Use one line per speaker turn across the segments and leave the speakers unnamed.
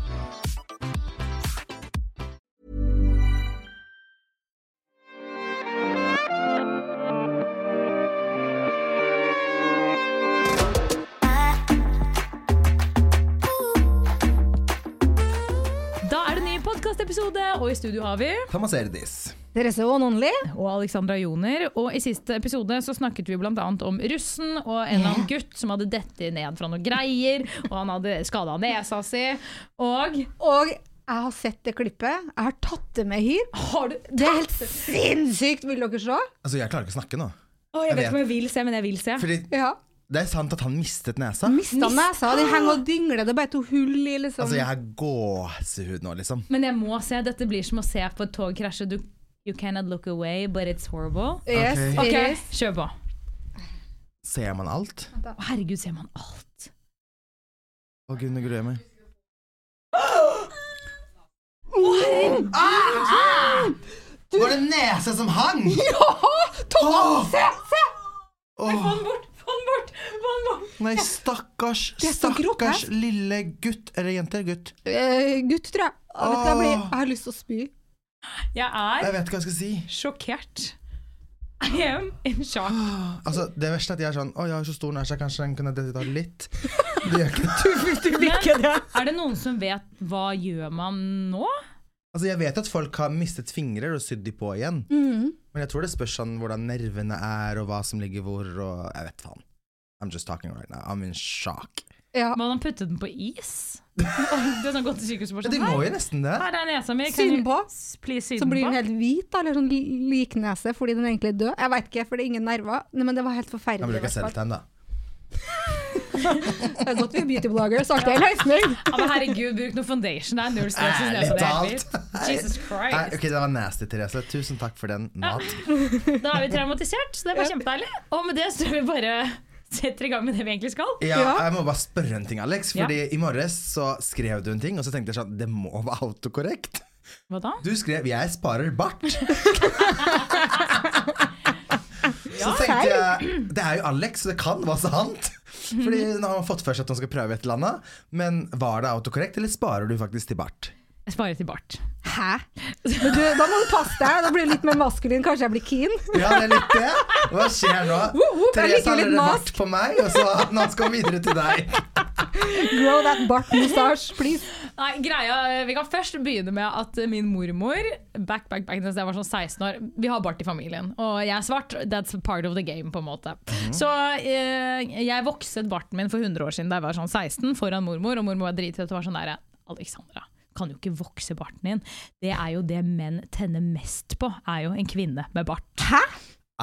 Da er det ny podkastepisode, og i studio har vi
Thomas Erdis.
Therese One Only.
og Alexandra Joner. Og i siste episode så snakket vi bl.a. om russen og en eller annen gutt som hadde dettet ned fra noen greier, og han hadde skada nesa si. Og
Og jeg har sett det klippet. Jeg har tatt det med hit.
har du
Det er helt sinnssykt! Vil dere se?
Altså, jeg klarer ikke å snakke nå.
Å, jeg
Jeg
vet
vet.
ikke om jeg vil se, men jeg vil se.
Fordi
Ja.
det er sant at han mistet nesa.
Mista nesa. Den henger og dingler. Det er bare to hull i, liksom.
Altså, jeg har gåsehud nå, liksom.
Men jeg må se. Dette blir som å se på et tog krasje. Du, you cannot look away, but it's horrible.
Yes,
Ok.
Ok,
yes.
kjør på.
Ser man alt?
Å, Herregud, ser man alt.
Å, gud, nå gruer jeg meg. Var det nese som hang? Ja! Thomas!
Se, se!
Få den bort! Få den bort! Få den bort!
nei, stakkars,
er så grovt,
stakkars lille gutt eller jente. Gutt.
Eh, gutt, tror jeg. Å, vet du, jeg, blir, jeg har lyst til å spy.
Jeg er
Jeg vet ikke hva jeg skal si.
sjokkert. I am in shock.
Altså, det verste er at jeg er sånn Å, jeg har så stor nese, kanskje den kunne dette litt. Det gjør ikke det.
Men, er det noen som vet hva gjør man nå?
Altså, jeg vet at folk har mistet fingre og sydd de på igjen. Men jeg tror det spørs sånn hvordan nervene er, og hva som ligger hvor, og jeg vet faen. I'm just talking right now. I'm in shock.
Ja.
Man har puttet den på is. Det er sånn godt sykehus
Ja, de må jo nesten det.
Her er nesa mi.
Sy den på.
Please sy
Så
den
blir den
på.
helt hvit, da, eller sånn li- liknese, fordi den egentlig er død. Jeg veit ikke, for det er ingen nerver. Nei, men det var helt
Jeg
forferdelig. i
bruker
hvert fall.
selvtegn, da.
Det er godt vi er beauty bloggers, har ikke en løsning.
Ja, men herregud, bruk noe foundation. Det er null stress hvis
Ærlig
nesa di er
talt.
hvit. Jesus
Nei,
Christ.
ok, det var nasty, Therese. Tusen takk for den mat.
Da er vi traumatisert, så det var kjempedeilig. Og med det så tror vi bare setter i gang med det vi egentlig skal.
Ja,
Ja.
jeg må bare spørre en ting, Alex.
Ja.
Fordi i morges så skrev du en ting, og så tenkte jeg sånn Det må være autokorrekt.
Hva da?
Du skrev 'Jeg sparer bart'. Så
Ja.
tenkte jeg Det er jo Alex, så det kan være sant. Fordi nå har man fått først at hun skal prøve et eller annet. Men var det autokorrekt, eller sparer du faktisk til bart?
Jeg sparer til bart.
Hæ? Men du, da må du passe deg. Da blir du litt mer maskulin. Kanskje jeg blir keen.
Ja, det er litt det. Hva skjer nå?
Woop, woop, jeg
Therese
liker
har
litt
allerede
mask.
bart på meg, og så nå skal hun videre til deg.
Grow that bart mustache, please.
Nei, greia, Vi kan først begynne med at min mormor back, back, back, da jeg var sånn 16 år, Vi har bart i familien, og jeg er svart. That's part of the game. på en måte. Så eh, jeg vokset barten min for 100 år siden da jeg var sånn 16, foran mormor, og mormor var dritrødt og var sånn derre Alexandra, kan jo ikke vokse barten din. Det er jo det menn tenner mest på, er jo en kvinne med bart. Hæ?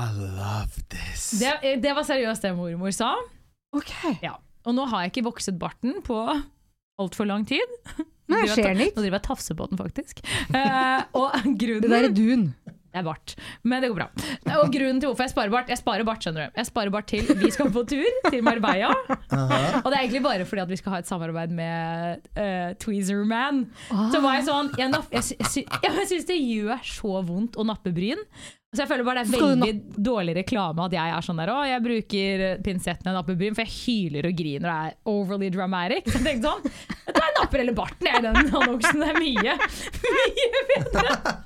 I love this.
Det, eh, det var seriøst det mormor sa.
Ok.
Ja. Og nå har jeg ikke vokset barten på altfor lang tid.
Nei, jeg
Driver
ser
jeg
den
ta- Nå
ikke.
driver jeg og tafser på den, faktisk. Eh, og grunnen
Det der er dun.
Det er bart, men det går bra. Og grunnen til hvorfor jeg sparer bart Jeg sparer bart, skjønner du. Jeg sparer bart til vi skal på tur til Marbella. Og det er egentlig bare fordi at vi skal ha et samarbeid med eh, Tweezer Man. Så var jeg sånn Jeg, napp- jeg, sy- jeg, sy- ja, men jeg syns det gjør så vondt å nappe bryn. Så jeg føler bare det er
Skal du
veldig dårlig reklame at jeg er sånn der Å, jeg bruker pinsetten og napper bryn, for jeg hyler og griner og er overly dramatic. Så jeg tenkte sånn Jeg tar napper eller barten, jeg, i den annonsen. Det er mye, mye bedre.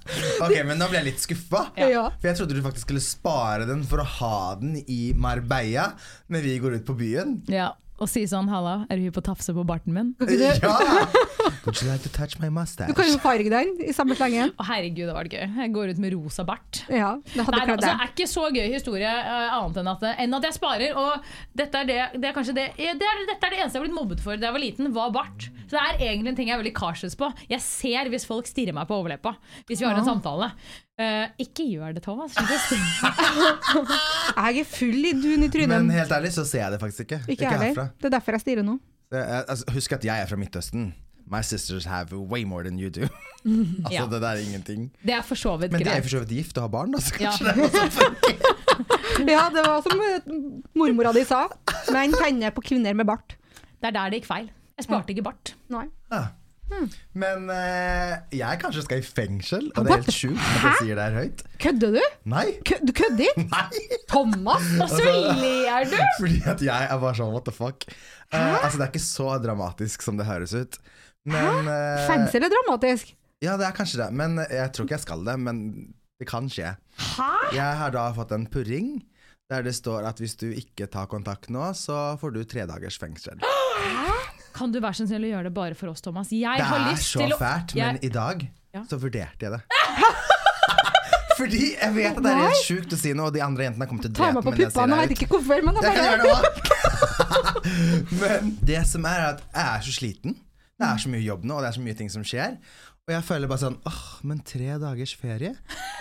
Ok, men nå ble jeg litt skuffa.
Ja.
Ja.
For jeg trodde du faktisk skulle spare den for å ha den i Marbella når vi går ut på byen.
Ja, og si sånn 'halla, er du hypp på å tafse på barten min?' Å
Ja! Would you like to touch my mustache?
Du kan jo farge den i samme slengen.
herregud, det var det gøy. Jeg går ut med rosa bart.
Ja, det hadde
Nei, altså,
kledd
det
deg.
er ikke så gøy historie eh, annet enn at, enn at jeg sparer. Og dette er det, det er kanskje det, ja, det, er, dette er det eneste jeg har blitt mobbet for da jeg var liten, var bart. Så det er egentlig en ting jeg er veldig cautious på. Jeg ser hvis folk stirrer meg på overleppa. Hvis vi har en samtale. Eh, ikke gjør det, Thomas.
Jeg er full i dun i trynet.
Men helt ærlig så ser jeg det faktisk ikke.
Ikke jeg heller.
herfra.
Det er derfor jeg stirrer nå.
Det er- Altså, husk at jeg er fra Midtøsten. My sisters have way more than you do. altså,
Ja.
det der er ingenting.
Det er for så vidt
Men de er jo
greit.
for så vidt gift og har barn, da, så
Ja.
kanskje det er noe som
Ja, det var som eh, mormora di sa. Menn tenner på kvinner med bart.
Det er der det gikk feil. Jeg sparte ikke bart.
Nei.
Ja.
Hmm.
Men eh, jeg kanskje skal i fengsel, og det er
What the-
helt sjukt at jeg sier det her høyt.
Kødder du?
Nei!
Kø du kødder?
Nei!
Thomas?
Hva sviler du?
Fordi at jeg er bare sånn what the fuck. Eh, altså, det er ikke så dramatisk som det høres ut. Men eh,
Fengsel er dramatisk.
Ja, det er kanskje det. Men jeg tror ikke jeg skal det. Men det kan skje. Jeg har da fått en purring der det står at hvis du ikke tar kontakt nå, så får du tre dagers fengsel.
Kan du være så snill å gjøre det bare for oss, Thomas? Jeg
Det
har
er
lyst
så
til å
fælt,
Jeg-
men i dag
Ja.
så vurderte jeg det. Fordi jeg vet at det er helt sjukt å si noe, og de andre jentene kommer til å
Tar
drepe
meg på
meg når jeg sier
puppene og
det
vet
høyt.
ikke hvorfor, men det
Jeg
er
kan
bare
gjøre det også. Men det som er, er at jeg er så sliten. Det er så mye jobb nå, og det er så mye ting som skjer. Og jeg føler bare sånn åh, men tre dagers ferie?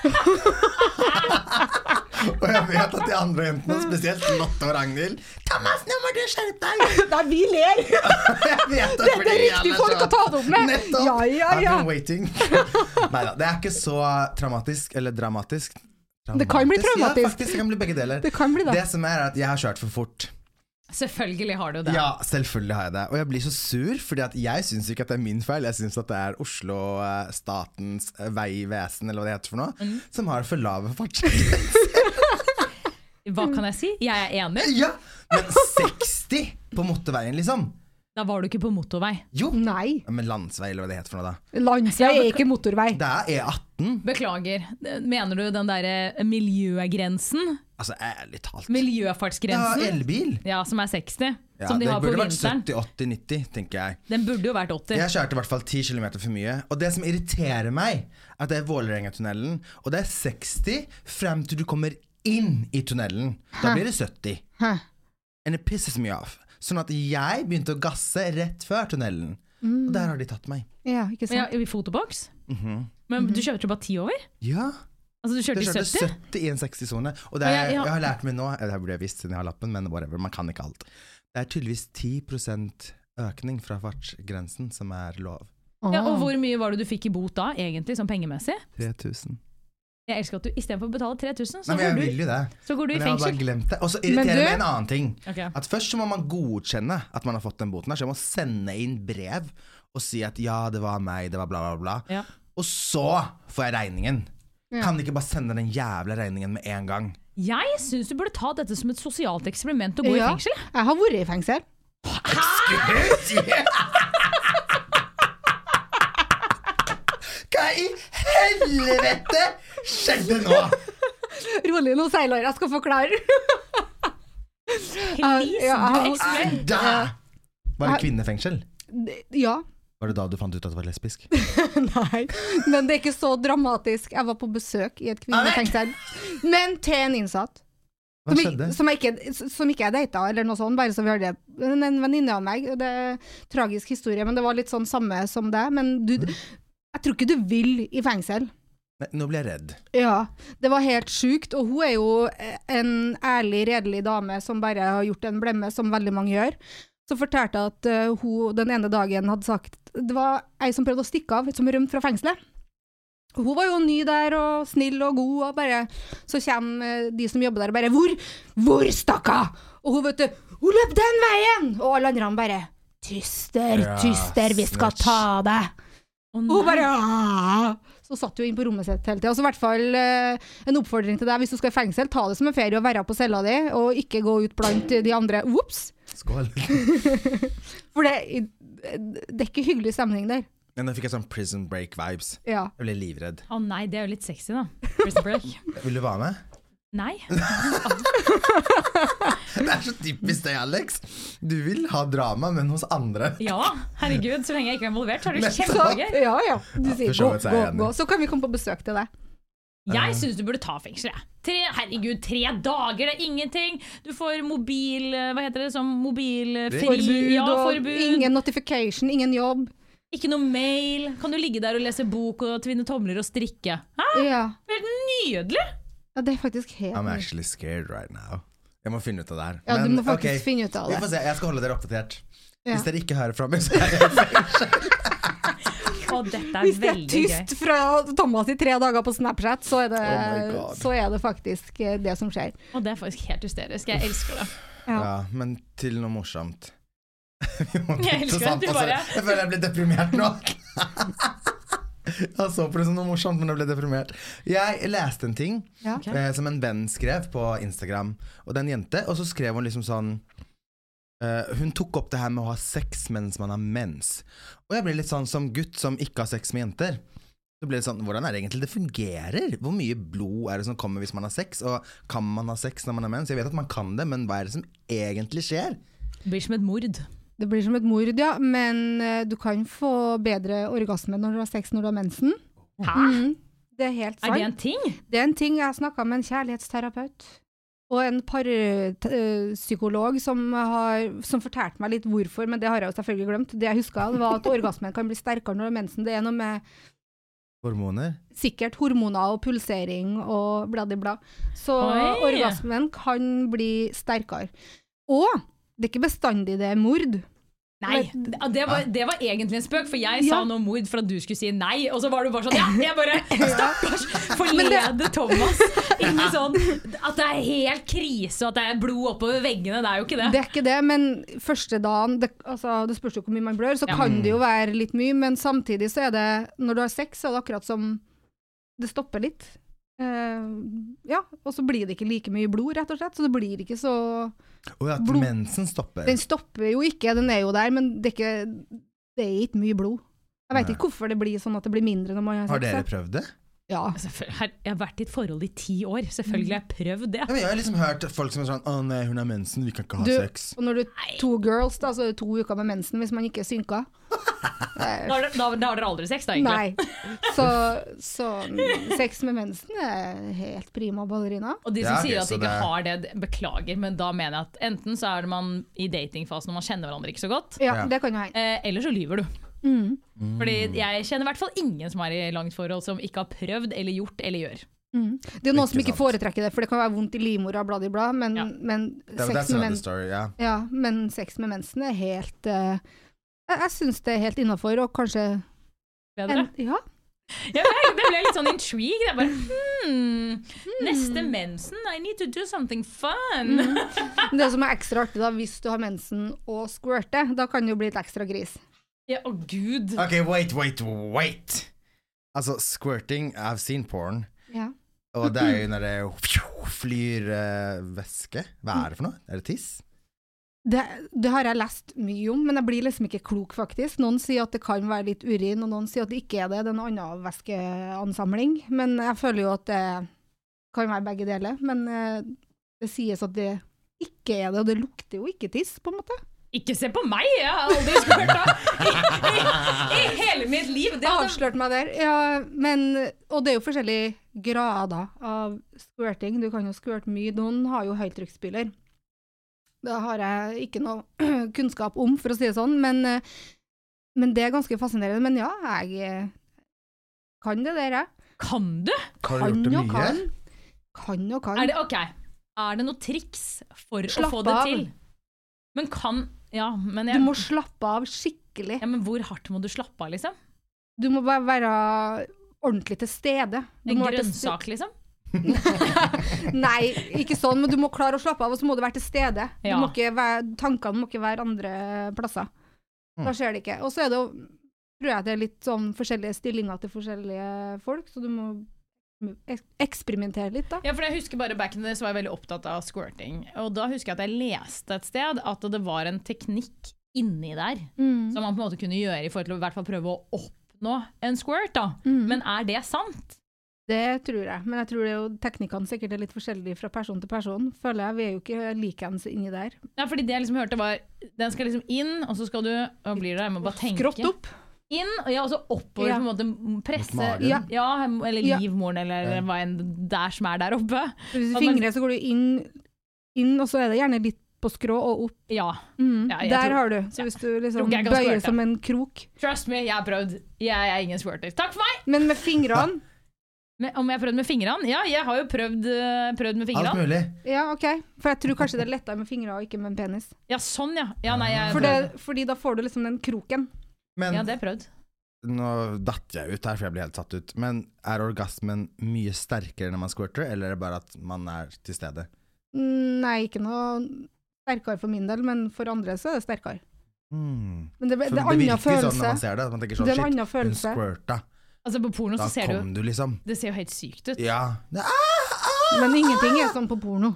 og jeg vet at de andre jentene, spesielt Lotte og Ragnhild Thomas, nå må du skjerpe deg!
Nei, vi ler!
Jeg vet det,
Dette er
fordi
riktig
jeg
folk
så-
å ta det opp med!
Nettopp!
Ja, ja, ja.
I've been waiting. Neida, det er ikke så traumatisk eller dramatisk.
Det kan bli
Ja,
traumatisk.
faktisk, det kan bli begge deler.
Det kan bli det.
Det som er, er at jeg har kjørt for fort.
Selvfølgelig har du det.
Ja, selvfølgelig har jeg det. Og jeg blir så sur, fordi at jeg syns ikke at det er min feil. Jeg syns at det er Oslo eh, Statens eh, Vegvesen, eller hva det heter for noe,
Mm.
som har for lave fartsgrenser.
Hva kan jeg si? Jeg er enig.
ja, men 60 på motorveien, liksom.
Da var du ikke på motorvei.
Jo.
Nei.
Ja, Men landsvei, eller hva det heter for noe, da.
Landsvei er ikke motorvei.
Det er E18.
Beklager. Mener du den derre miljøgrensen?
Altså, ærlig talt. Ja,
Miljøfartsgrensen?
elbil.
Ja, som er 60.
Ja,
som de
det
har på
burde vært
vinteren.
70-80-90, tenker jeg.
Den burde jo vært 80.
Jeg kjørte i hvert fall 10 km for mye. Og det som irriterer meg, er at det er Vålerengatunnelen, og det er 60 frem til du kommer inn i tunnelen. Da blir det 70.
Hæ?
And it pisses me off. Sånn at jeg begynte å gasse rett før tunnelen.
Mm.
Og der har de tatt meg.
Ja, ikke
Ja,
sant.
I fotoboks? Men du kjørte jo bare 10 over?
Ja,
Altså, du
jeg
kjørte i
Mhm. kjørte
70?
70 i en 60-sone. Og det
Og
er,
jeg-
jeg,
ja.
har lært meg nå, eller det burde jeg visst siden jeg har lappen, men whatever, man kan ikke alt. Det er tydeligvis 10 økning fra fartsgrensen som er lov.
Ja, og hvor mye var det du fikk i bot da, egentlig, sånn pengemessig?
3000.
Jeg elsker at du istedenfor å betale 3000, så,
Nei, men jeg
går du,
vil jo det.
så går du i
Men jeg har bare
fengsel.
glemt det. Og så
Men
irriterer
du-
meg en annen ting.
Ok.
At Først så må man godkjenne at man har fått den boten. her Så jeg må sende inn brev og si at ja, det var meg, det var bla, bla, bla.
Ja.
Og så får jeg regningen. Kan de ikke bare sende den jævla regningen med en gang?
Jeg syns du burde ta dette som et sosialt eksperiment og gå
Ja.
i fengsel.
Jeg har vært i fengsel.
Excuse you! Hva i helvete skjedde nå?
Rolig nå, Seilar. Jeg skal forklare.
Please,
ja, jeg har-
du eksperiment.
Da! Var det kvinnefengsel?
Ja.
Var det da du fant ut at du var lesbisk?
Nei. Men det er ikke så dramatisk. Jeg var på besøk i et kvinnefengsel. Men til en innsatt.
Hva
som,
skjedde?
ik- som jeg ikke, som ikke jeg data, eller noe sånt, bare så vi har det. En en venninne av meg, og det er en tragisk historie, men det var litt sånn samme som det. Men du, jeg tror ikke du vil i fengsel.
Nei, Nå ble jeg redd.
Ja, det var helt sjukt, og hun er jo eh, en ærlig, redelig dame som bare har gjort en blemme, som veldig mange gjør. Så fortalte jeg at eh, hun den ene dagen hadde sagt Det var ei som prøvde å stikke av, som rømte fra fengselet. Og Hun var jo ny der, og snill og god, og bare Så kommer eh, de som jobber der, og bare 'Hvor? Hvor, stakkar?' Og hun, vet du 'Hun løp den veien!' Og alle andre bare 'Tyster,
Ja,
tyster, vi skal
snitch.
ta deg'.
Å,
Og hun
nei.
bare «Ah!» Så satt hun inn på rommet sitt hele tida. Så i hvert fall eh, en oppfordring til deg hvis du skal i fengsel, ta det som en ferie og være på cella di, og ikke gå ut blant de andre. Ops!
Skål.
For det, det er ikke hyggelig stemning der.
Men nå fikk jeg sånn prison break-vibes.
Ja.
Jeg ble livredd.
Å nei, det er jo litt sexy, da. Prison break.
Vil du være med?
Nei.
Det er så typisk deg, Alex. Du vil ha drama, men hos andre.
Ja, herregud, så lenge jeg ikke er involvert, så er det
Så,
kjempegøy.
ja, ja. Du sier
for så vidt
gå,
så er
gå,
jeg enig.
gå. Så kan vi komme på besøk til deg.
Jeg syns du burde ta fengsel, jeg. Tre, herregud, tre dager, det er ingenting! Du får mobil... Hva heter det? Sånn mobilfri...
Forbud
ja,
og
forbud.
ingen notification, ingen jobb.
Ikke noe mail. Kan du ligge der og lese bok og tvinne tomler og strikke? Hæ?
Ja.
Helt nydelig!
ja, det er faktisk helt
I'm actually scared right now. Jeg må finne ut av det her.
Ja, du
Men,
må faktisk
ok,
finne ut av
Vi
det.
får se. Jeg skal holde dere oppdatert.
Ja.
Hvis dere ikke hører fra meg, så er jeg
Og dette
Hvis
er
det er
veldig gøy.
tyst fra Thomas i tre dager på Snapchat, så er det,
Oh my God.
så er det faktisk eh, det som skjer.
Og det er faktisk helt hysterisk. Jeg elsker det.
Ja.
Ja, men til noe morsomt. Vi må
Jeg
bytte
elsker at
sant,
du
altså.
bare-
Jeg føler jeg ble deprimert nå. Jeg så på det som noe morsomt, men jeg ble deprimert. Jeg leste en ting
Ja.
Ok.
eh, som en venn skrev på Instagram, og det er en jente, og så skrev hun liksom sånn eh, Hun tok opp det her med å ha sex mens man har mens. Og jeg ble litt sånn som gutt som ikke har sex med jenter. Så ble det sånn, Hvordan er det egentlig det fungerer? Hvor mye blod er det som kommer hvis man har sex? Og kan man ha sex når man har mens? Jeg vet at man kan det, men hva er det som egentlig skjer?
Blir som et mord.
Det blir som et mord, ja, men eh, du kan få bedre orgasme når du har sex når du har mensen.
Hæ?
Mm. Det er helt
Er
sant.
det en ting?
Det er en ting jeg snakka med en kjærlighetsterapeut og en parpsykolog som, har- som fortalte meg litt hvorfor, men det har jeg jo selvfølgelig glemt. Det jeg huska, var at orgasmen kan bli sterkere når det er mensen. Det er noe med
Hormoner?
sikkert hormoner og pulsering og bladibla. Så
Oi.
orgasmen kan bli sterkere. Og det er ikke bestandig det er mord.
Nei. Ja, Det var, det var egentlig en spøk, for jeg sa
Ja.
noe mord for at du skulle si nei. Og så var du bare sånn Ja, jeg bare Stakkars! Forlede Thomas inn i sånn At det er helt krise, og at det er blod oppover veggene. Det er jo ikke
Det
det.
er ikke det, men første dagen det, altså, det spørs jo hvor mye man blør, så
Ja.
mm.
kan det jo være litt mye, men samtidig så er det Når du har sex, så er det akkurat som det stopper litt. Eh, ja, og så blir det ikke like mye blod, rett og slett, så det blir ikke så
Og at
Blod.
mensen stopper.
Den stopper jo ikke, den er jo der, men det er ikke, det er ikke mye blod. Jeg veit
Nei.
ikke hvorfor det blir sånn at det blir mindre når man har sex.
Har dere
jeg.
prøvd det?
Ja.
Selvfølgelig- her- Jeg har vært i et forhold i ti år. Selvfølgelig har jeg prøvd det.
Ja, men jeg har liksom hørt folk som er sånn 'Å nei, hun har mensen, vi kan ikke ha
Du-
sex'.
Og når du er to girls, da, så er det to uker med mensen hvis man ikke er synka. Eh,
Da har dere- da da har dere aldri sex, da, egentlig.
Nei. Så, så mm, sex med mensen er helt prima ballerina.
Og de som
Ja, ok,
sier at de
så
ikke
det-
har det, de- beklager, men da mener jeg at enten så er det man i datingfasen og man kjenner hverandre ikke så godt,
Ja,
Ja.
det kan jo hende.
eh, eller så lyver du.
Mm.
Fordi jeg kjenner i hvert fall ingen som er i langt forhold som ikke har prøvd eller gjort eller gjør.
Mm. Det er jo noen som
Ikke
ikke
sant.
foretrekker det, for det kan være vondt i livmora, bla, bla, bla, men,
Ja.
men,
Det er- That's
sex med
another
men,
story, ja.
ja, men sex med mensen er helt eh, Jeg, jeg syns det er helt innafor, og kanskje
Bedre.
en, Ja.
Jeg ble, det ble litt sånn intrigued. Jeg bare hmm, Neste mensen, I need to do something fun.
Men Det som er ekstra artig, da, hvis du har mensen og squirter, da kan du jo bli et ekstra gris.
Ja, å gud.
Ok, wait, wait, wait! Altså, squirting I've seen porn.
Ja.
Og det er jo når det flyr eh, væske. Hva er det for noe? Er det tiss?
Det, det har jeg lest mye om, men jeg blir liksom ikke klok, faktisk. Noen sier at det kan være litt urin, og noen sier at det ikke er det. Det er en annen væskeansamling. Men jeg føler jo at det kan være begge deler. Men eh, det sies at det ikke er det, og det lukter jo ikke tiss, på en måte.
Ikke se på meg! Jeg har aldri spurt da. I, i, I hele mitt liv. Altså, Det
Jeg
hadde
avslørte meg der. Ja, men, og det er jo forskjellige grader av squirting. Du kan jo squirte mye. Noen har jo høytrykksspyler. Det har jeg ikke noe kunnskap om, for å si det sånn, men, eh, men det er ganske fascinerende. Men ja, jeg eh, kan det der, jeg.
Kan du?
Har du
Kan
gjort det
og
mye?
kan. Kan og kan.
Er det, ok. Er det noe triks for
Slapp
å få det
av.
til? Men kan Ja, men,
Du
jeg,
må slappe av skikkelig.
ja, men hvor hardt må du slappe av, liksom?
Du må bare være ordentlig til stede. Du
En
må være til ste-
grønnsak, liksom?
Nei, ikke sånn, men du må klare å slappe av, og så må du være til stede. Du
Ja.
må ikke være, tankene må ikke være andre plasser. Da skjer det ikke. Og så er det jo, tror jeg det er litt sånn forskjellige stillinger til forskjellige folk, så du må eks- eksperimentere litt, da.
Ja, for jeg husker bare back in the day så var jeg veldig opptatt av squirting. Og da husker jeg at jeg leste et sted at det var en teknikk inni der
Mm.
som man på en måte kunne gjøre i forhold til å i hvert fall prøve å oppnå en squirt, da.
Mm.
Men er det sant?
Det tror jeg, men jeg tror det er jo teknikkene sikkert er litt forskjellige fra person til person. Føler jeg, vi er jo ikke likeens inni der.
Ja, fordi det jeg liksom hørte var Den skal liksom inn, og så skal du Hva blir det? Jeg må bare tenke.
Skrått opp.
Inn, og ja, og så oppover
Ja.
på en måte m- presse
Mot magen.
ja.
Ja.
eller
Ja.
livmoren, eller
Ja.
hva enn der som er der oppe.
Hvis
Ja,
du
men-
fingrer, så går du inn, inn, og så er det gjerne litt på skrå og opp.
Ja.
Mm.
Ja, jeg
der
tror-
har du. Så hvis du liksom
ikke jeg kan
bøyer
squirte.
som en krok
Trust me, jeg har prøvd. Jeg er ingen squirter. Takk for meg!
Men med fingrene
Men Om jeg har prøvd med fingrene? Ja, jeg har jo prøvd, eh, prøvd med
Alt
fingrene.
mulig.
Ja, ok. For jeg tror kanskje det er lettere med fingre og ikke med en penis.
Ja, sånn, ja. ja nei, jeg,
For det, fordi da får du liksom den kroken.
Men
ja, det er prøvd.
nå datt jeg ut her, for jeg ble helt satt ut. Men er orgasmen mye sterkere når man squirter, eller er det bare at man er til stede?
Mm, Nei, ikke noe sterkere for min del, men for andre så er det sterkere.
Mm.
Men det, det
For
er en annen
virker sånn når
følelse.
man ser det. at Man tenker
Det
sånn
er en
shit,
annen
hun
følelse.
squirta.
Altså, på porno
Da
så ser du
kom du, liksom.
Det ser jo helt sykt ut.
Ja. Ah!
Men ingenting er sånn på porno.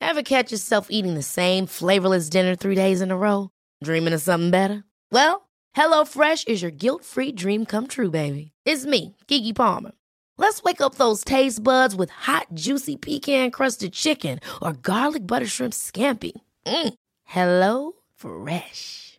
Ever catch yourself eating the same flavorless dinner three days in a row? Dreaming of something better? Well, HelloFresh is your guilt free dream come true, baby. It's me, Kiki Palmer. Let's wake up those taste buds with hot, juicy pecan crusted chicken or garlic butter shrimp scampi. Mm. Hello Fresh.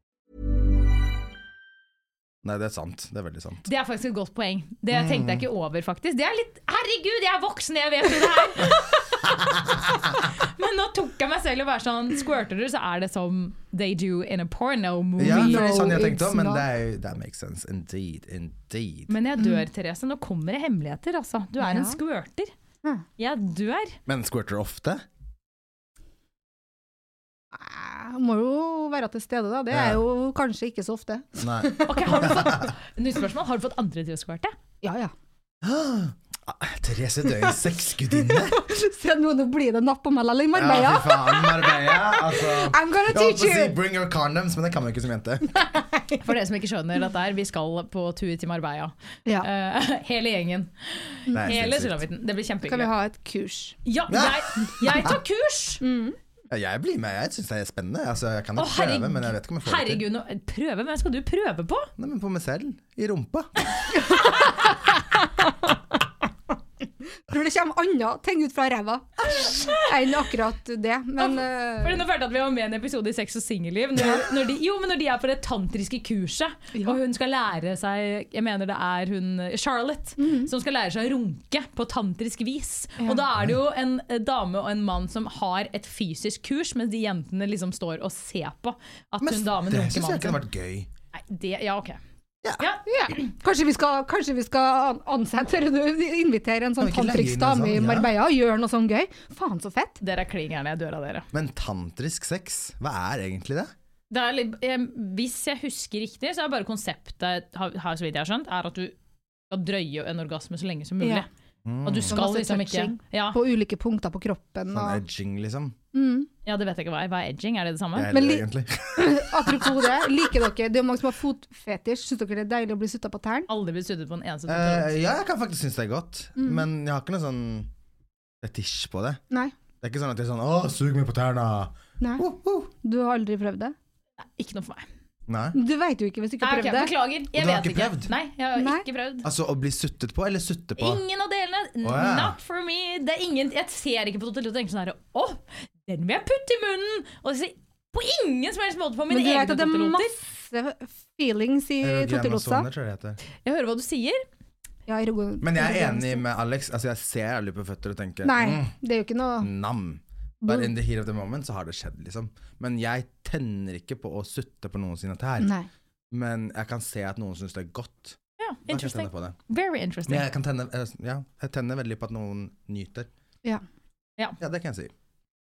Nei, det er sant. Det er veldig sant.
Det er faktisk et godt poeng. Det
Mm.
tenkte jeg ikke over, faktisk. Det er litt Herregud, jeg er voksen, jeg vet jo det her! Men nå tok jeg meg selv i å være sånn Squirter du, så er det som they do in a porno movie.
Ja, det er
No,
litt sånn jeg tenkte
it's
òg, men
not.
det er jo That makes sense. Indeed. Indeed.
Men jeg
Mm.
dør, Therese. Nå kommer det hemmeligheter, altså. Du er en squirter. Jeg dør.
Men squirter ofte?
Eh, Må jo være til stede, da. Det
Ja.
er jo kanskje ikke så ofte.
Nei.
Ok, har du fått Nytt spørsmål. Har du fått andre til å squirte?
Ja, ja.
Ah, Therese Døyen, sexgudinne?
Se nå, nå blir det napp om meg likevel i
Ja,
Marbella.
fy faen. Marbella, altså.
I'm gonna
Jeg holdt
teach
på å si
you!
'bring your condoms', men det kan man jo ikke som jente.
For dere som ikke skjønner dette her, vi skal på tur til Marbella.
Ja.
Eh, hele gjengen.
Det er
Hele
sinnssykt.
sulamitten. Det blir
Kan vi
kjempehyggelig.
ha Mm. et kurs?
Ja, jeg, jeg tar kurs!
Ja, Jeg blir med, jeg syns det er spennende. Altså, jeg kan
Å,
ikke prøve, men jeg vet ikke om jeg får det til.
herregud, nå- prøve? Hvem skal du prøve på?
Nei, men på meg selv. I rumpa.
Tror det kommer andre ting ut fra ræva enn akkurat det, men eh,
Fordi nå følte jeg at Vi var med i en episode i Sex og singelliv. Når, når de, jo, men når de er på det tantriske kurset, og hun skal lære seg Jeg mener det er hun Charlotte
Mm.
som skal lære seg å runke på tantrisk vis. Og da er det jo en eh, dame og en mann som har et fysisk kurs, mens de jentene liksom står og ser på at
Men
hun damen
det
runker
syns jeg
mannen sin.
kunne vært gøy.
Nei, det, ja, ok.
Ja.
Ja,
ja. kanskje, vi skal, kanskje vi skal an- ansette Invitere en sånn
Kan vi ikke leie inn en
tantriksdame
sånn,
i
ja?
Marbella og gjøre noe sånn gøy? Faen, så fett!
Dere er klin gærne. Jeg dør av dere.
Men tantrisk sex, hva er egentlig det?
Det er litt, eh, hvis jeg husker riktig, så er bare konseptet, har, har, så vidt jeg har skjønt, er at du skal drøye en orgasme så lenge som mulig.
Ja.
Mm.
Og du skal
masse
liksom ikke
touching.
ja,
På ulike punkter på kroppen.
Sånn
Og,
edging, liksom.
mm.
ja, det vet jeg ikke hva er. Hva er edging? Er det det samme?
Jeg er
Men
litt,
li-
egentlig.
Apropos det, liker dere Det er jo mange som har fotfetisj. Syns dere det er deilig å bli sutta på tærne?
Aldri blitt suttet på en eneste
Eh,
uh,
ja, jeg kan faktisk synes det er godt,
Mm.
men jeg har ikke noe sånn fetisj på det.
Nei.
Det er ikke sånn at jeg er sånn 'Å, sug meg på tærne'.
Nei.
Uh, uh.
Du har aldri prøvd det?
Ikke noe for meg.
Nei.
Du veit jo ikke hvis du ikke
Nei,
har
ok,
prøvd det.
beklager. Jeg
du har
vet
ikke
ikke.
prøvd?
Nei, jeg har
Nei.
ikke prøvd.
Altså å bli suttet på, eller sutte på?
Ingen av delene. N-
Å, ja.
Not for me. Det er ingen, jeg ser ikke på Totel og tenker sånn her Å, den vil jeg putte i munnen! Og så, på ingen som helst måte på
Men
mine
du vet
egne
at det er
Toteloter.
masse feelings i
Erogenasone,
tottelotsa.
tror jeg det heter.
Jeg hører hva du sier.
Ja, erogen-
Men jeg er
erogen-
enig med Alex. Altså, jeg ser aldri på føtter og tenker
Nei, Ah. det er jo ikke noe
mm, nam. Bare in the heat of the moment så har det skjedd, liksom. Men jeg tenner ikke på å sutte på noen sine tær.
Nei.
Men jeg kan se at noen syns det er godt.
Ja,
Da kan jeg tenne
interesting.
på det.
Very interesting.
Men jeg kan tenne eh, Ja, jeg tenner veldig på at noen nyter.
Ja.
Ja, det kan jeg si.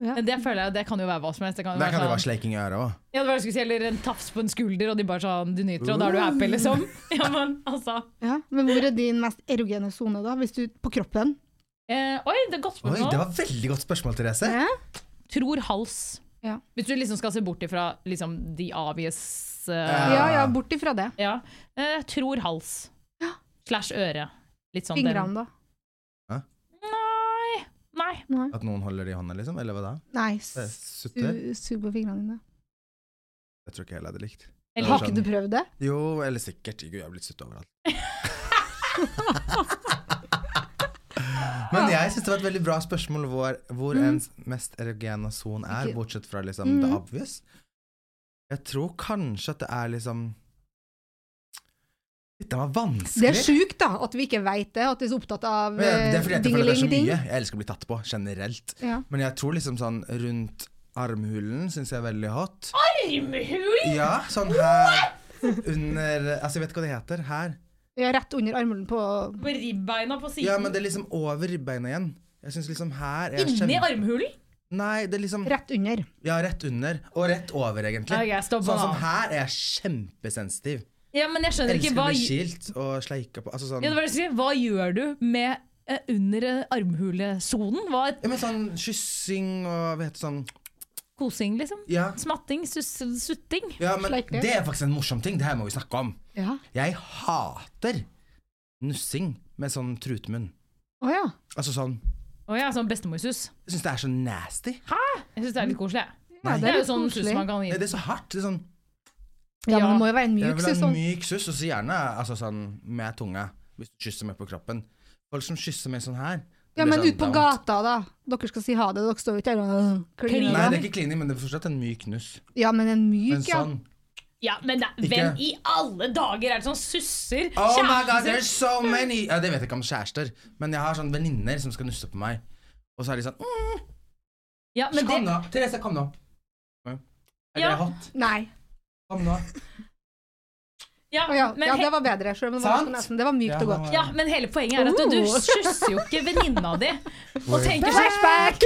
Ja.
Men Det føler jeg, det kan jo være hva som helst. Det kan jo
Der
være
kan det være
sånn,
sleiking i øret òg.
ja, det var det jeg skulle si, eller en tafs på en skulder, og de bare sånn Du nyter, og da er du happy, liksom. Ja, men altså
Ja. Men hvor er din mest erogene sone, da? Hvis du På kroppen?
eh, Oi, det er godt
Oi,
spørsmål.
det var veldig godt spørsmål, Therese.
Ja.
Tror hals.
Ja.
Hvis du liksom skal se bort ifra liksom the obvious eh,
ja, ja, bort ifra det.
Ja. Eh, tror hals. Slash øre. Litt sånn den-
Fingrene, da.
Nei. Nei. Nei.
Nei.
At noen holder det i hånda, liksom? Eller hva da?
Nei,
Det er
su-
Sutter?
sug på fingrene dine.
Jeg tror ikke jeg hadde likt. sånn-
Eller
Har ikke du prøvd det?
Jo, eller sikkert. Gud, jeg har blitt sutt overalt. Men jeg syns det var et veldig bra spørsmål hvor, hvor ens mest erogene son er,
Mm. Ikke-
bortsett fra liksom det
Mhm.
obvious. Jeg tror kanskje at det er liksom Dette var vanskelig.
Det er sjukt, da, at vi ikke veit det, at vi er så opptatt av eh,
Men jeg- Det er fordi jeg ikke føler det er så
dingeling-ding.
mye. Jeg elsker å bli tatt på, generelt.
Ja.
Men jeg tror liksom sånn rundt armhulen syns jeg er veldig hot.
Armhul!
Ja, sånn her under Altså, jeg vet ikke hva det heter. Her.
Ja, rett under armhulen på
På ribbeina på siden.
Ja, men det er liksom over ribbeina igjen. Jeg syns liksom her er
Inni
kjempe...
armhulen?
Nei, det er liksom
Rett under.
Ja, rett under. Og rett over, egentlig.
Ok, stopp
sånn
nå.
som her er jeg kjempesensitiv.
Ja, men jeg skjønner ikke
Elsker å
hva
bli kilt og sleika på. Altså sånn
ja, det var det jeg skulle si. Hva gjør du med eh, under eh, armhulesonen? Hva er
ja, men sånn kyssing og vet du sånn
kosing, liksom?
Ja.
Smatting? Sus sutting?
ja men
Sleike.
det er faktisk en morsom ting. Det her må vi snakke om.
Ja.
Jeg hater nussing med sånn trutmunn.
Å ja.
Altså sånn
Å ja, sånn bestemorsus.
Jeg syns det er så nasty.
Jeg syns det er litt koselig. jeg.
Nei,
Det er jo
litt
sånn sus
koselig.
man kan gi.
Det er så hardt. Det er sånn
Ja, men
Ja.
det må jo være en
Jeg
mjuk
vil ha en
sesong.
myk suss, og så gjerne altså sånn med tunga. Hvis du kysser meg på kroppen. Folk som kysser meg sånn her det
Ja,
blir
men
sånn
ut
down.
på gata, da. Dere skal si ha det, dere står jo ikke der og øh, kliner.
Nei, det
da.
er ikke klining, men det er fortsatt en myk nuss.
Ja, men en
Men
myk, ja.
sånn
Ja, men da,
Ikke-
hvem i alle dager er det som susser?
Oh my god,
kjærester?
there's so many ja, Det vet jeg ikke om kjærester, men jeg har sånne venninner som skal nusse på meg. Og så er de sånn mm,
ja, men
Kom
det,
nå, Therese, kom nå. Ja. Er
Ja.
det hot?
Nei.
Kom nå.
ja,
Å ja.
men,
ja,
he-
det var bedre. Selv om det
Sant?
var, nesten, det var mykt
Ja,
og godt.
det
ja, men hele poenget er at du, du
Oh.
kysser jo ikke venninna di og
Oi.
tenker sånn
Flashback!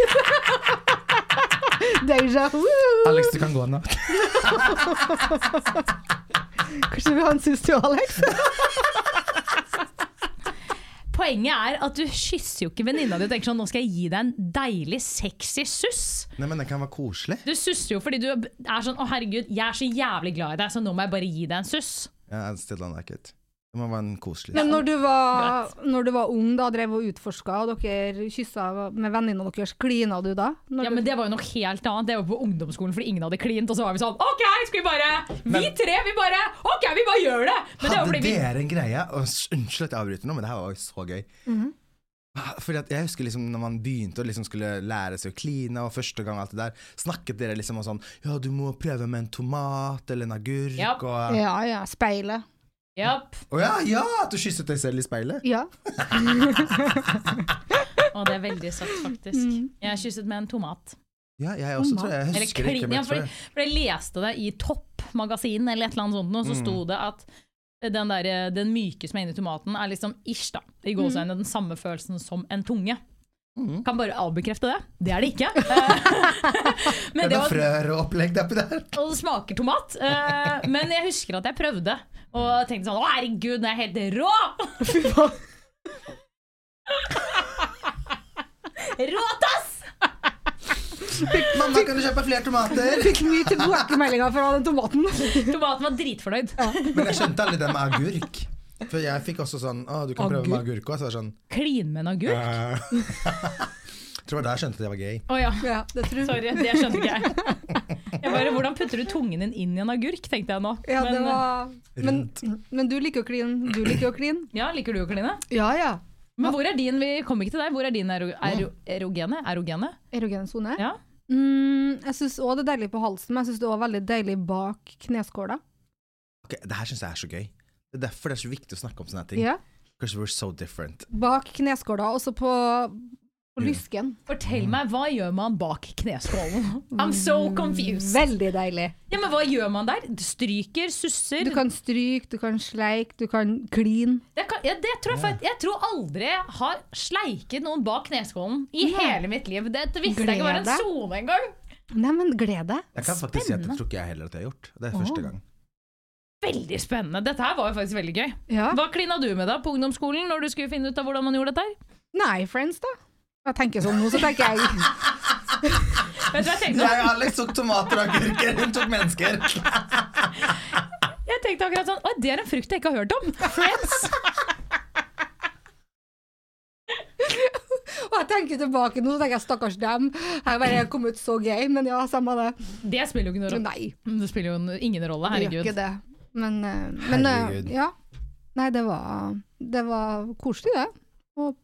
Deja vu!
Alex, du kan gå nå.
Kanskje vi har en siste jo, Alex?
Poenget er at du kysser jo ikke venninna di og tenker sånn Nå skal jeg gi deg en deilig, sexy suss.
Nei, men det kan være koselig.
Du susser jo fordi du er sånn Å, herregud, jeg er så jævlig glad i deg, så nå må jeg bare gi deg en suss.
Ja, jeg stiller meg ikke ut. Det må være en koselig
Men når du var, når du var ung, da drev og utforska, og dere kyssa med venninna deres, klina du da? Når
Ja, men Det var jo noe helt annet. Det var på ungdomsskolen fordi ingen hadde klint. Og så var vi sånn OK, skal vi bare Vi
Men-
tre, vi bare OK, vi bare gjør det! Men det var
Hadde
fordi vi
dere en greie og s- Unnskyld at jeg avbryter nå, men det her var jo så gøy.
Mhm.
Fordi at jeg husker liksom Når man begynte å liksom skulle lære seg å kline, og første gang og alt det der, snakket dere liksom om sånn Ja, du må prøve med en tomat eller en agurk
Ja.
og
Ja, ja. Speilet.
Japp.
Å ja, ja! At du kysset deg selv i speilet?
Ja.
Å, det er veldig søtt, faktisk. Jeg kysset med en tomat.
Ja, jeg også, tror jeg. Jeg
Eller
husker det ikke.
klin, ja,
Men jeg tror
fordi,
jeg.
fordi jeg leste det i Topp-magasin, eller et eller annet sånt, og så
Mm.
sto det at den, der, den myke som er inni tomaten, er liksom ish, da, i gåseøynene, den samme følelsen som en tunge.
Mm.
Kan bare avbekrefte det. Det er det ikke. Eh,
Det
Men
er
det
noe
var,
frør og opplegg der oppi der.
og det smaker tomat. Eh, Men jeg husker at jeg prøvde, og tenkte sånn Å, herregud, den er helt rå! Råt, ass!
Mamma, kan du kjøpe flere tomater?
Fikk mye tilbakemeldinger fra den tomaten.
Tomaten var dritfornøyd.
Men jeg skjønte aldri det med agurk. For jeg fikk også sånn Å, du kan prøve med agurk òg. Så jeg var sånn
Klin med en agurk?
«Eh». Jeg tror det var da jeg skjønte at jeg var gay.
Å ja.
Ja, det tror jeg.
Sorry, det skjønner ikke jeg. jeg bare, hvordan putter du tungen din inn i en agurk, tenkte jeg nå.
Ja, det
Men, eh,
var... men, men du liker å kline. Du liker å kline.
ja, liker du å kline?
Ja, ja.
Men hvor er din vi kom ikke til deg, hvor er din ero, ero, erogene? erogene?
Erogen sone.
Ja.
Mm, jeg syns òg det er deilig på halsen, men jeg syns det er også veldig deilig bak kneskåla.
Ok, Det her syns jeg er så gøy. Det er derfor det er så viktig å snakke om sånne her ting.
Ja.
Kanskje we're so different.
Bak kneskåla, også på, på lysken. Mm.
Fortell meg, hva gjør man bak kneskålen? I'm so confused.
Veldig deilig.
Ja, men hva gjør man der? Stryker, susser?
Du kan stryke, du kan sleike, du kan kline.
Det kan, ja, det tror jeg, fakt- jeg tror aldri jeg har sleiket noen bak kneskålen i
Nei.
hele mitt liv. Det, det visste jeg ikke var en
Glede.
sone engang.
Nei, men gled deg.
Jeg kan faktisk si at det tror ikke jeg heller at jeg har gjort. Det er første gang.
Veldig spennende. Dette her var jo faktisk veldig gøy.
Ja.
Hva klina du med da på ungdomsskolen når du skulle finne ut av hvordan man gjorde dette? her?
Nei, friends, da. Jeg tenker sånn nå, så tenker jeg
Vet du hva jeg tenkte?
Jeg og Alex tok tomater og agurker, hun tok mennesker.
Jeg tenkte akkurat sånn, «Å, det er en frukt jeg ikke har hørt om. Friends.
Og jeg tenker tilbake nå, så tenker jeg stakkars dem. Jeg bare kom ut så gøy, men ja, samme det.
Det spiller jo ikke noen rolle.
Nei,
Det spiller jo en- ingen rolle,
det gjør
herregud.
ikke det. Men, eh, men eh,
Herregud.
ja. Nei, det var, det var koselig, det. Å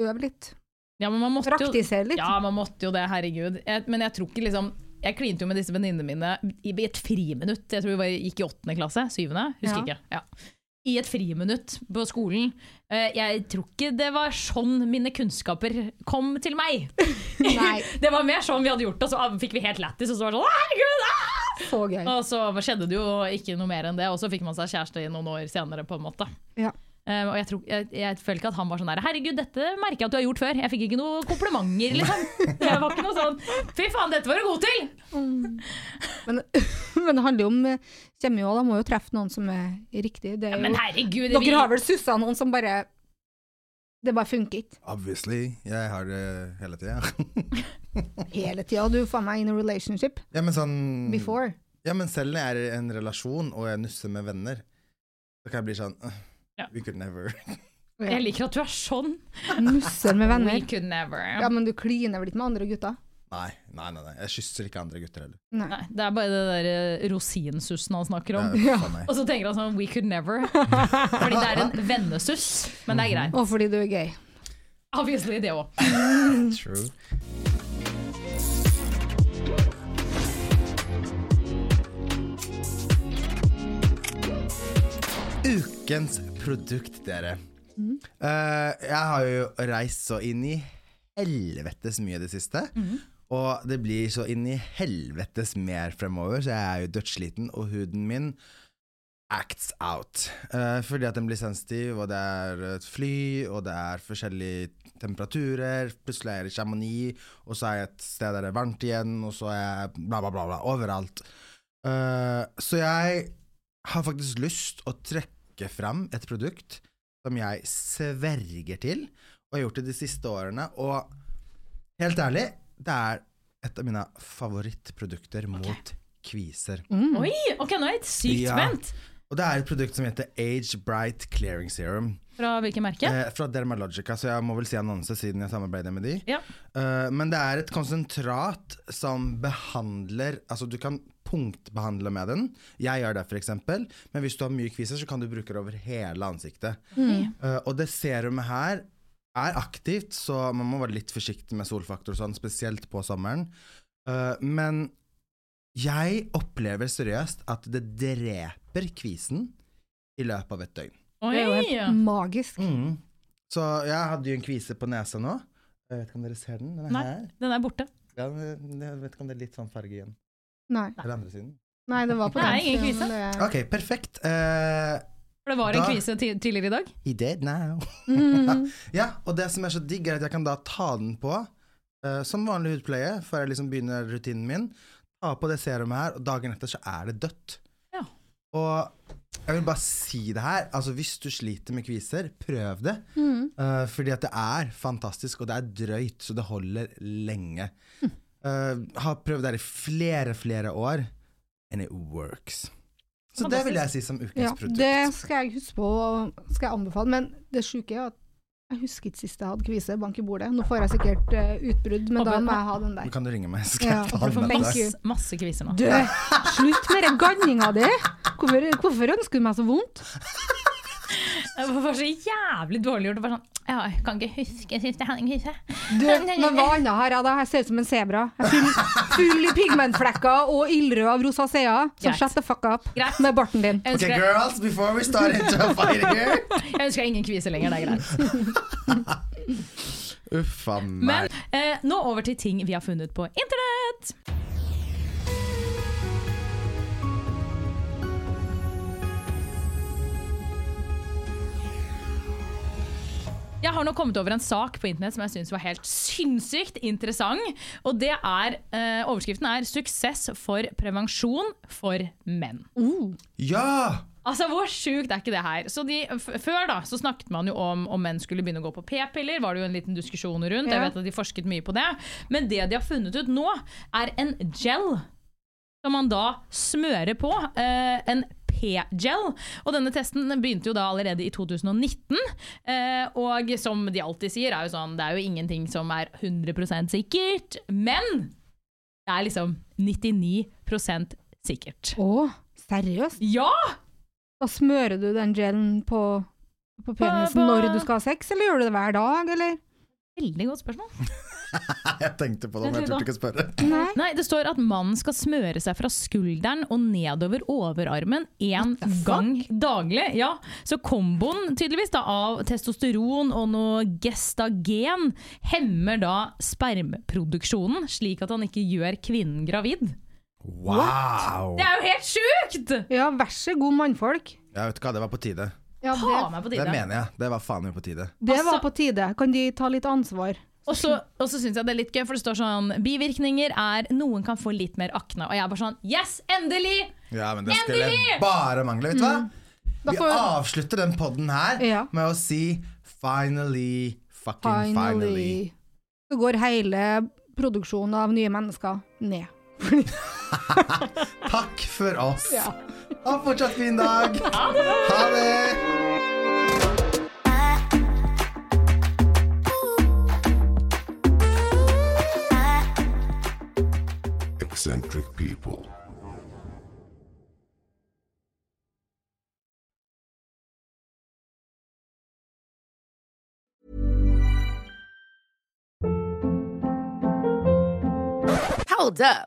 øve litt.
Ja, men man måtte jo,
Praktisere litt.
ja, man måtte jo det, herregud. Jeg, men jeg tror ikke liksom Jeg klinte jo med disse venninnene mine i, i et friminutt. Jeg tror vi var, gikk i åttende klasse. Syvende? Husker
Ja.
ikke. Ja. I et friminutt på skolen. Eh, jeg tror ikke det var sånn mine kunnskaper kom til meg.
Nei,
Det var mer sånn vi hadde gjort det, og så ah, fikk vi helt lættis, og så var det sånn «Å, herregud! Ah!
så gøy.
Og så skjedde det jo ikke noe mer enn det, og så fikk man seg kjæreste i noen år senere, på en måte.
Ja.
Eh, og jeg, tror, jeg, jeg føler ikke at han var sånn der Herregud, dette merker jeg at du har gjort før. Jeg fikk ikke noe komplimenter, liksom. Jeg var ikke noe sånn Fy faen, dette var du god til!
Mm. Men, men det handler jo om eh, kjemi òg, da må jo treffe noen som er riktig. Det er
Men
jo,
herregud, vi-
dere har vel sussa noen som bare Det bare funker ikke
Obviously. Jeg har det hele tida.
hele tida. Du er faen meg in a relationship
ja, men sånn
before.
Ja, men selv når jeg er i en relasjon og jeg nusser med venner, så kan jeg bli sånn «Åh,
Ja.
We could never.
Jeg liker at du er sånn.
Nusser med
We
venner.
could never.
Ja, men du kliner vel ikke med andre gutter?
Nei, nei, nei. nei. Jeg kysser ikke andre gutter heller.
Nei.
Nei, det er bare det der eh, rosinsussen han snakker om.
Det er faen meg.
Og så tenker han sånn We could never. Fordi det er en vennesuss, men det er greit.
Og fordi du er gay.
Obviously det òg.
True. Ukens produkt, dere. Eh, jeg har jo reist så inn i helvetes mye i det siste. Og det blir så inn i helvetes mer fremover, så jeg er jo dødssliten, og huden min acts out. Eh, fordi at den blir sensitiv, og det er eh, et fly, og det er forskjellige temperaturer. Plutselig er jeg i Chamonix, og så er jeg et sted der det er varmt igjen, og så er jeg bla, bla, bla, bla overalt. Eh, så jeg har faktisk lyst å trekke fram et produkt som jeg sverger til, og har gjort det de siste årene, og helt ærlig, det er et av mine favorittprodukter mot kviser.
Mm.
Oi, ok, nå er jeg helt sykt
Ja.
spent.
Og det er et produkt som heter Age Bright Clearing Serum.
Fra hvilket merke?
Eh, fra Dermalogica, så jeg må vel si annonse siden jeg samarbeider med de.
Ja.
Eh, men det er et konsentrat som behandler Altså, du kan punktbehandle med den. Jeg gjør det, f.eks. Men hvis du har mye kviser, så kan du bruke det over hele ansiktet.
Mm.
Eh, og det serumet her er aktivt, så man må være litt forsiktig med solfaktor og sånn, spesielt på sommeren. Eh, men jeg opplever seriøst at det dreper kvisen i løpet av et døgn.
Oi.
Det er jo helt magisk.
Mm. Så jeg hadde jo en kvise på nesa nå. Jeg vet ikke om dere ser den. Den er
Nei.
her.
Den er borte.
Ja, men jeg vet ikke om det er litt sånn farge igjen.
Nei,
Eller andre siden.
Nei det var på
Nei,
den
ingen
siden,
kvise.
men det-
Ok, perfekt. Eh,
For det var en
Da-
kvise ti- tidligere i dag.
he dead now.
Mm.
ja, og det som er så digg, er at jeg kan da ta den på eh, som vanlig hudpleie før jeg liksom begynner rutinen min. Ta på det serumet her, og dagen etter så er det dødt.
Ja.
Og jeg vil bare si det her, altså hvis du sliter med kviser, prøv det.
Mm.
Eh, fordi at det er fantastisk, og det er drøyt, så det holder lenge.
Hm.
Eh, har prøvd det her i flere, flere år, and it works. Så det vil jeg si som ukens
Ja,
produkt.
det skal jeg huske på og skal jeg anbefale. Men det sjuke er at jeg husker ikke sist jeg hadde kvise. Bank i bordet. Nå får jeg sikkert eh, utbrudd, men da må jeg ha den
Men
der.
Kan du ringe meg? Skal
Ja,
jeg ta
for
den med
thank
deg?
you.
Masse, masse kviser nå.
Du, slutt med den ganninga di! Hvorfor, hvorfor ønsker du meg så vondt?
Det var så jævlig dårlig gjort. Bare sånn, ja, jeg kan ikke huske sist jeg hadde en kvise.
Du, men hva annet har jeg da? Jeg ser ut som en sebra. Jeg er Full, full i pigmentflekker og ildrød av rosacea. Så
Greit.
shut the fuck up
Greit.
med barten din.
Jeg
Okay,
ønsker, jeg,
girls, before we start into fighting here
jeg ønsker jeg ingen kvise lenger, det er greit.
Uff a meg.
Men eh, nå over til ting vi har funnet på internett. Jeg har nå kommet over en sak på internett som jeg syns var helt sinnssykt interessant. Og det er, eh, Overskriften er 'Suksess for prevensjon for menn'.
Ja!
Altså, Hvor sjukt er ikke det her? Så de, f Før da, så snakket man jo om om menn skulle begynne å gå på p-piller. var det jo en liten diskusjon rundt, jeg
Ja.
vet at de forsket mye på det. Men det de har funnet ut nå, er en gel som man da smører på eh, en P-gel. Og denne testen begynte jo da allerede i 2019. Eh, og som de alltid sier, er jo sånn, det er jo ingenting som er 100 sikkert. Men det er liksom 99 sikkert.
Å, seriøst?
Ja!
Da smører du den gelen på, på penisen
Ba, ba.
når du skal ha sex, eller gjør du det hver dag, eller?
Veldig godt spørsmål.
Jeg tenkte på det, men jeg turte ikke å spørre.
Nei.
Nei, det står at mannen skal smøre seg fra skulderen og nedover overarmen én gang daglig. Ja, Så komboen tydeligvis da av testosteron og noe gestagen hemmer da spermproduksjonen, slik at han ikke gjør kvinnen gravid.
Wow!
Det er jo helt sjukt!
Ja, vær så god, mannfolk.
Jeg vet ikke hva, det var på tide.
Ja,
Ta
det,
meg på
Det
tide.
mener jeg. Det var faen meg på tide.
det var
Altså-
på tide. Kan de ta litt ansvar?
Og så, og så syns jeg det er litt gøy, for det står sånn Bivirkninger er noen kan få litt mer akne. Og jeg er bare sånn Yes, endelig!
Ja, men det skulle
Endelig!
bare mangle, vet du hva?
Da
Vi
får-
avslutter den podden her
Ja.
med å si finally, fucking finally.
Finally. Så går hele produksjonen av nye mennesker ned. Fordi
Takk for oss.
Ja.
Ha en fortsatt fin dag. Ha det.
eccentric people.
Hold up.